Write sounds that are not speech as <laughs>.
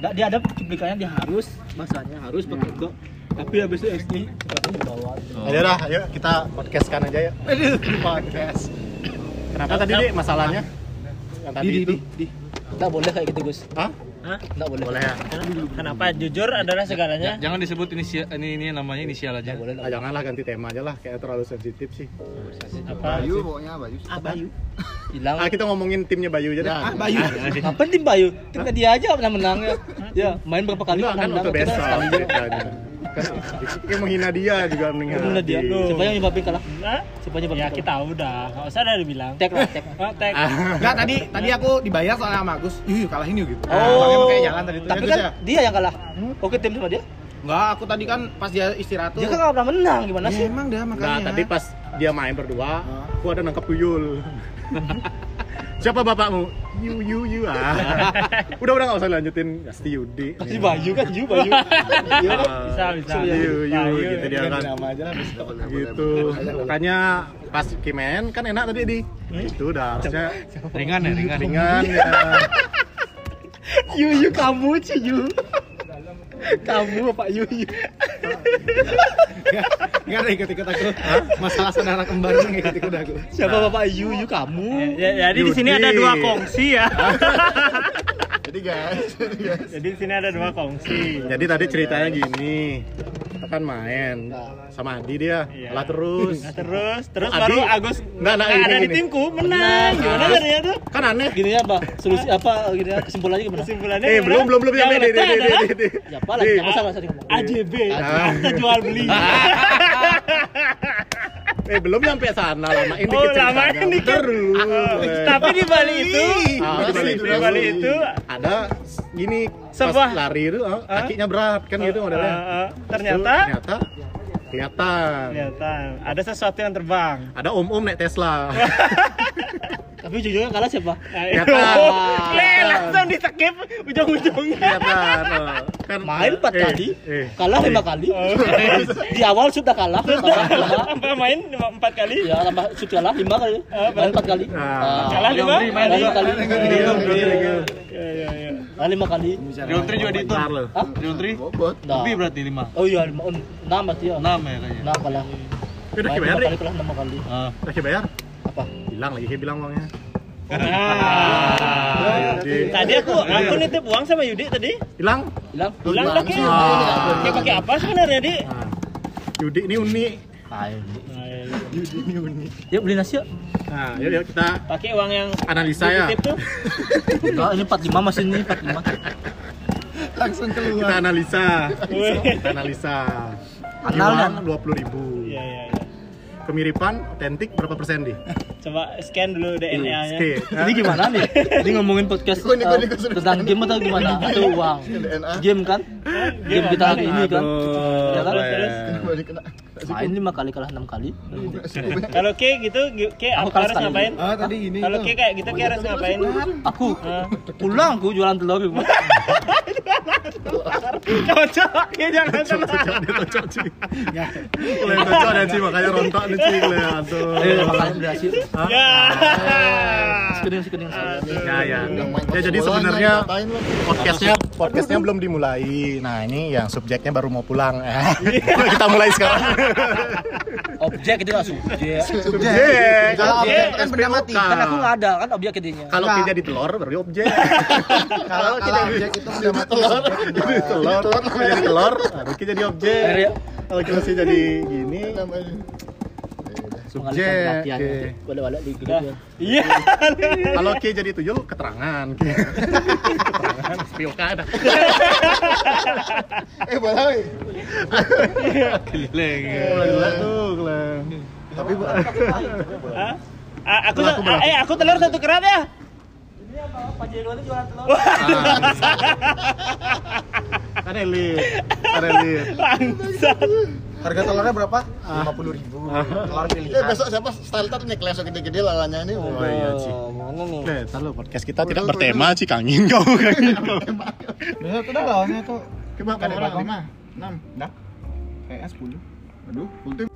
Nggak, dia ada cuplikannya dia harus bahasanya harus pakai dok. Tapi habis itu SD katanya bawa. Ayo dah, ayo kita podcastkan aja ya. Podcast. Kenapa tadi Dik, masalahnya? Yang tadi itu. Enggak boleh kayak gitu, Gus. Hah? Hah? Enggak boleh. Boleh ya? Kenapa? Jujur adalah Ja- segalanya. jangan disebut inisial ini ini namanya inisial aja. Nggak boleh. Ah, janganlah ganti tema aja lah, kayak terlalu sensitif sih. Apa? Bayu pokoknya Bayu. Ah, Bayu. Hilang. Ah, kita ngomongin timnya Bayu aja deh. Ya, Ah, Bayu. Nah, Bayu. Apa tim Bayu? Tim dia aja pernah menang ya. Ya, main berapa kali Enggak pernah kan untuk Kita besok sekali. ceritanya. Kan dia menghina dia juga menghina. Gimana dia? hati. Siapa yang nyebabin kalah? Hah? Siapa yang nyebabin Ya kita udah, nggak usah dari bilang. tek lah, tek. Ah. Oh, tek. Enggak tadi tadi aku dibayar soalnya sama Agus. Yuk, yuk kalahin yuk gitu. Makanya Oh, makanya jalan tadi itu. tapi Ya, Gus, kan ya? dia yang kalah. Oke tim sama dia. enggak aku tadi kan pas dia istirahat tuh. Dia kan nggak pernah menang gimana Ya, sih? emang dah makanya. Nah, tadi pas dia main berdua, aku ada nangkep <laughs> tuyul. Siapa bapakmu? Yu yu yu <laughs> ah. Udah udah nggak usah lanjutin. Pasti Yudi. Pasti Bayu kan, Yu <laughs> Bayu. Iya kan? Bisa, bisa. Ah, Yu yu Bayu, gitu dia Ganti kan. nama aja lah besok. Gitu. Makanya pas kimen kan enak tadi di. Hmm? Itu udah harusnya Ringan ya, ringan. ringan <laughs> ya. Yu Yu kamu sih Yu. Kamu Bapak Yu Yu. Enggak ada ikut-ikut aku. Masalah saudara kembar ini ikut-ikut aku. Nah. Siapa Bapak Yu Yu kamu? <laughs> Eh, Ya, jadi di sini ada dua kongsi ya. Jadi guys, <laughs> jadi di sini ada dua kongsi. Jadi tadi ceritanya gini, kita kan main Nah. sama Adi dia, Iya. kalah <laughs> terus. Nah, terus, terus Adi- baru Agus Nggak, nggak, nggak gini, ada di gini. timku menang. Gimana Nah. caranya tuh? Kan aneh. Gini apa? Solusi apa? Gini ya, kesimpulannya gimana? Kesimpulannya Eh gimana? belum belum belum Yang nyampe deh deh letak deh adalah deh, deh. Ya apalah, Deh. eh, jangan salah tadi ngomong. AJB, Ah. akta jual beli. Eh belum nyampe sana lama ini Oh, lamain dikit. terus. eh. Ah, Tapi di balik itu, Ah, di balik di balik itu ada gini Sebuah- pas lari itu ah, kakinya berat kan gitu modelnya. eh, eh, Terus ternyata Ya. ternyata kelihatan. ternyata ada sesuatu yang terbang. Ada om-om naik Tesla. Tapi jujurnya kalah siapa? Iya, Ternyata. Leh, <laughs> langsung di skip ujung-ujungnya. kelihatan. oh. Kan Main 4 eh, kali, eh. Oh. kalah 5 kali. <laughs> Di awal sudah <laughs> kalah, tambah kalah. Apa main lima- empat kali? Ya tambah sudah kalah 5 kali. Main 4 kali. Ah. Kalah lima? Main 5 kali. Iya, Ya, ya, ya. Kalah 5 kali. Round 3 juga dihitung. Bentar, loh. Hah? Round 3 bobot. Nah. lebih berarti 5. Oh iya, 6 berarti ya. 6 ya kayaknya. 6 kalah. Udah Main kebayar 5 deh. kali kalah 6 kali. Ah. Udah kebayar. Apa? Hilang lagi kayak bilang uangnya. Ah. Jadi Tadi aku aku nitip uang sama Yudi tadi. hilang. Hilang. Hilang Hilang lagi. semua. Dia pakai apa sebenarnya, Di? Nah, Yudi ini uni. Yuk beli nasi yuk. Nah, yuk, yuk kita Pakai uang yang analisa ya. dititip tuh. Enggak, ini 45 masih ini 45. Langsung Kita keluar. analisa. Wih. Kita analisa. Anal dan- dua puluh ribu. Iya, iya, iya. Kemiripan otentik berapa persen di? Coba scan dulu Iya, DNA-nya. Oke. ya. Jadi gimana nih? Jadi ngomongin podcast Ikut, ikut, uh, ikut, ikut. tentang game atau gimana? Atau uang? DNA. Game kan? Game kita hari ini kan? Aduh, Iya, Ya kan? Ren. Balik kena. Main lima kali kalah enam kali. Kalau K gitu, K Aku aku kalah harus sekali. ngapain? Ah, tadi ini. Kalau K kayak gitu, K harus ngapain? Aku pulang aku jualan telur. <laughs> Cocok, K jangan tenang. Cocok, dia cocok, Ci. Ya. Mulai cocok deh, Ci, makanya rontok nih, Ci. Mulai, aduh. Ah. Ayo lima kali beli hasil. Hah? Iya. Ya. Sekening sekening. Ah. Ya, ya. Ya, jadi sebenarnya podcastnya podcastnya belum dimulai nah ini yang subjeknya baru mau pulang <laughs> kita mulai sekarang Objek itu langsung. subjek. Subjek. Kalau objek Subjek. kan benda mati. Nah. Kan aku nggak ada kan objek jadinya. kalau Ki jadi telur baru objek <laughs> Kalau tidak objek itu benda mati. jadi telur jadi telur baru Ki jadi objek Akhirnya kalau Ki masih jadi gini mengalihkan subjek perhatian. Oke. Balik-balik di gedung. Iya. kalau Ki jadi tuyul keterangan Ki. keterangan pilkada <laughs> Eh, boleh. Keliling. Gila tuh gila. Tapi Hah? Ah, aku Berlaku, berlaku. eh aku telur satu kerat ya. kan elit kan elit Bangsat. harga telurnya berapa? Ah. 50 ribu Telur pilihan. Eh, besok siapa style tar necklace yang gede-gede lalanya ini. oh iya Ci Mana nih? Nah, lo podcast kita tidak bertema Ci kangin kau kangin <laughs> kau Besok tuh dah lawannya tuh. Coba Kan ada kamera berapa? 6. Dah. Kayaknya 10. Aduh, ultim.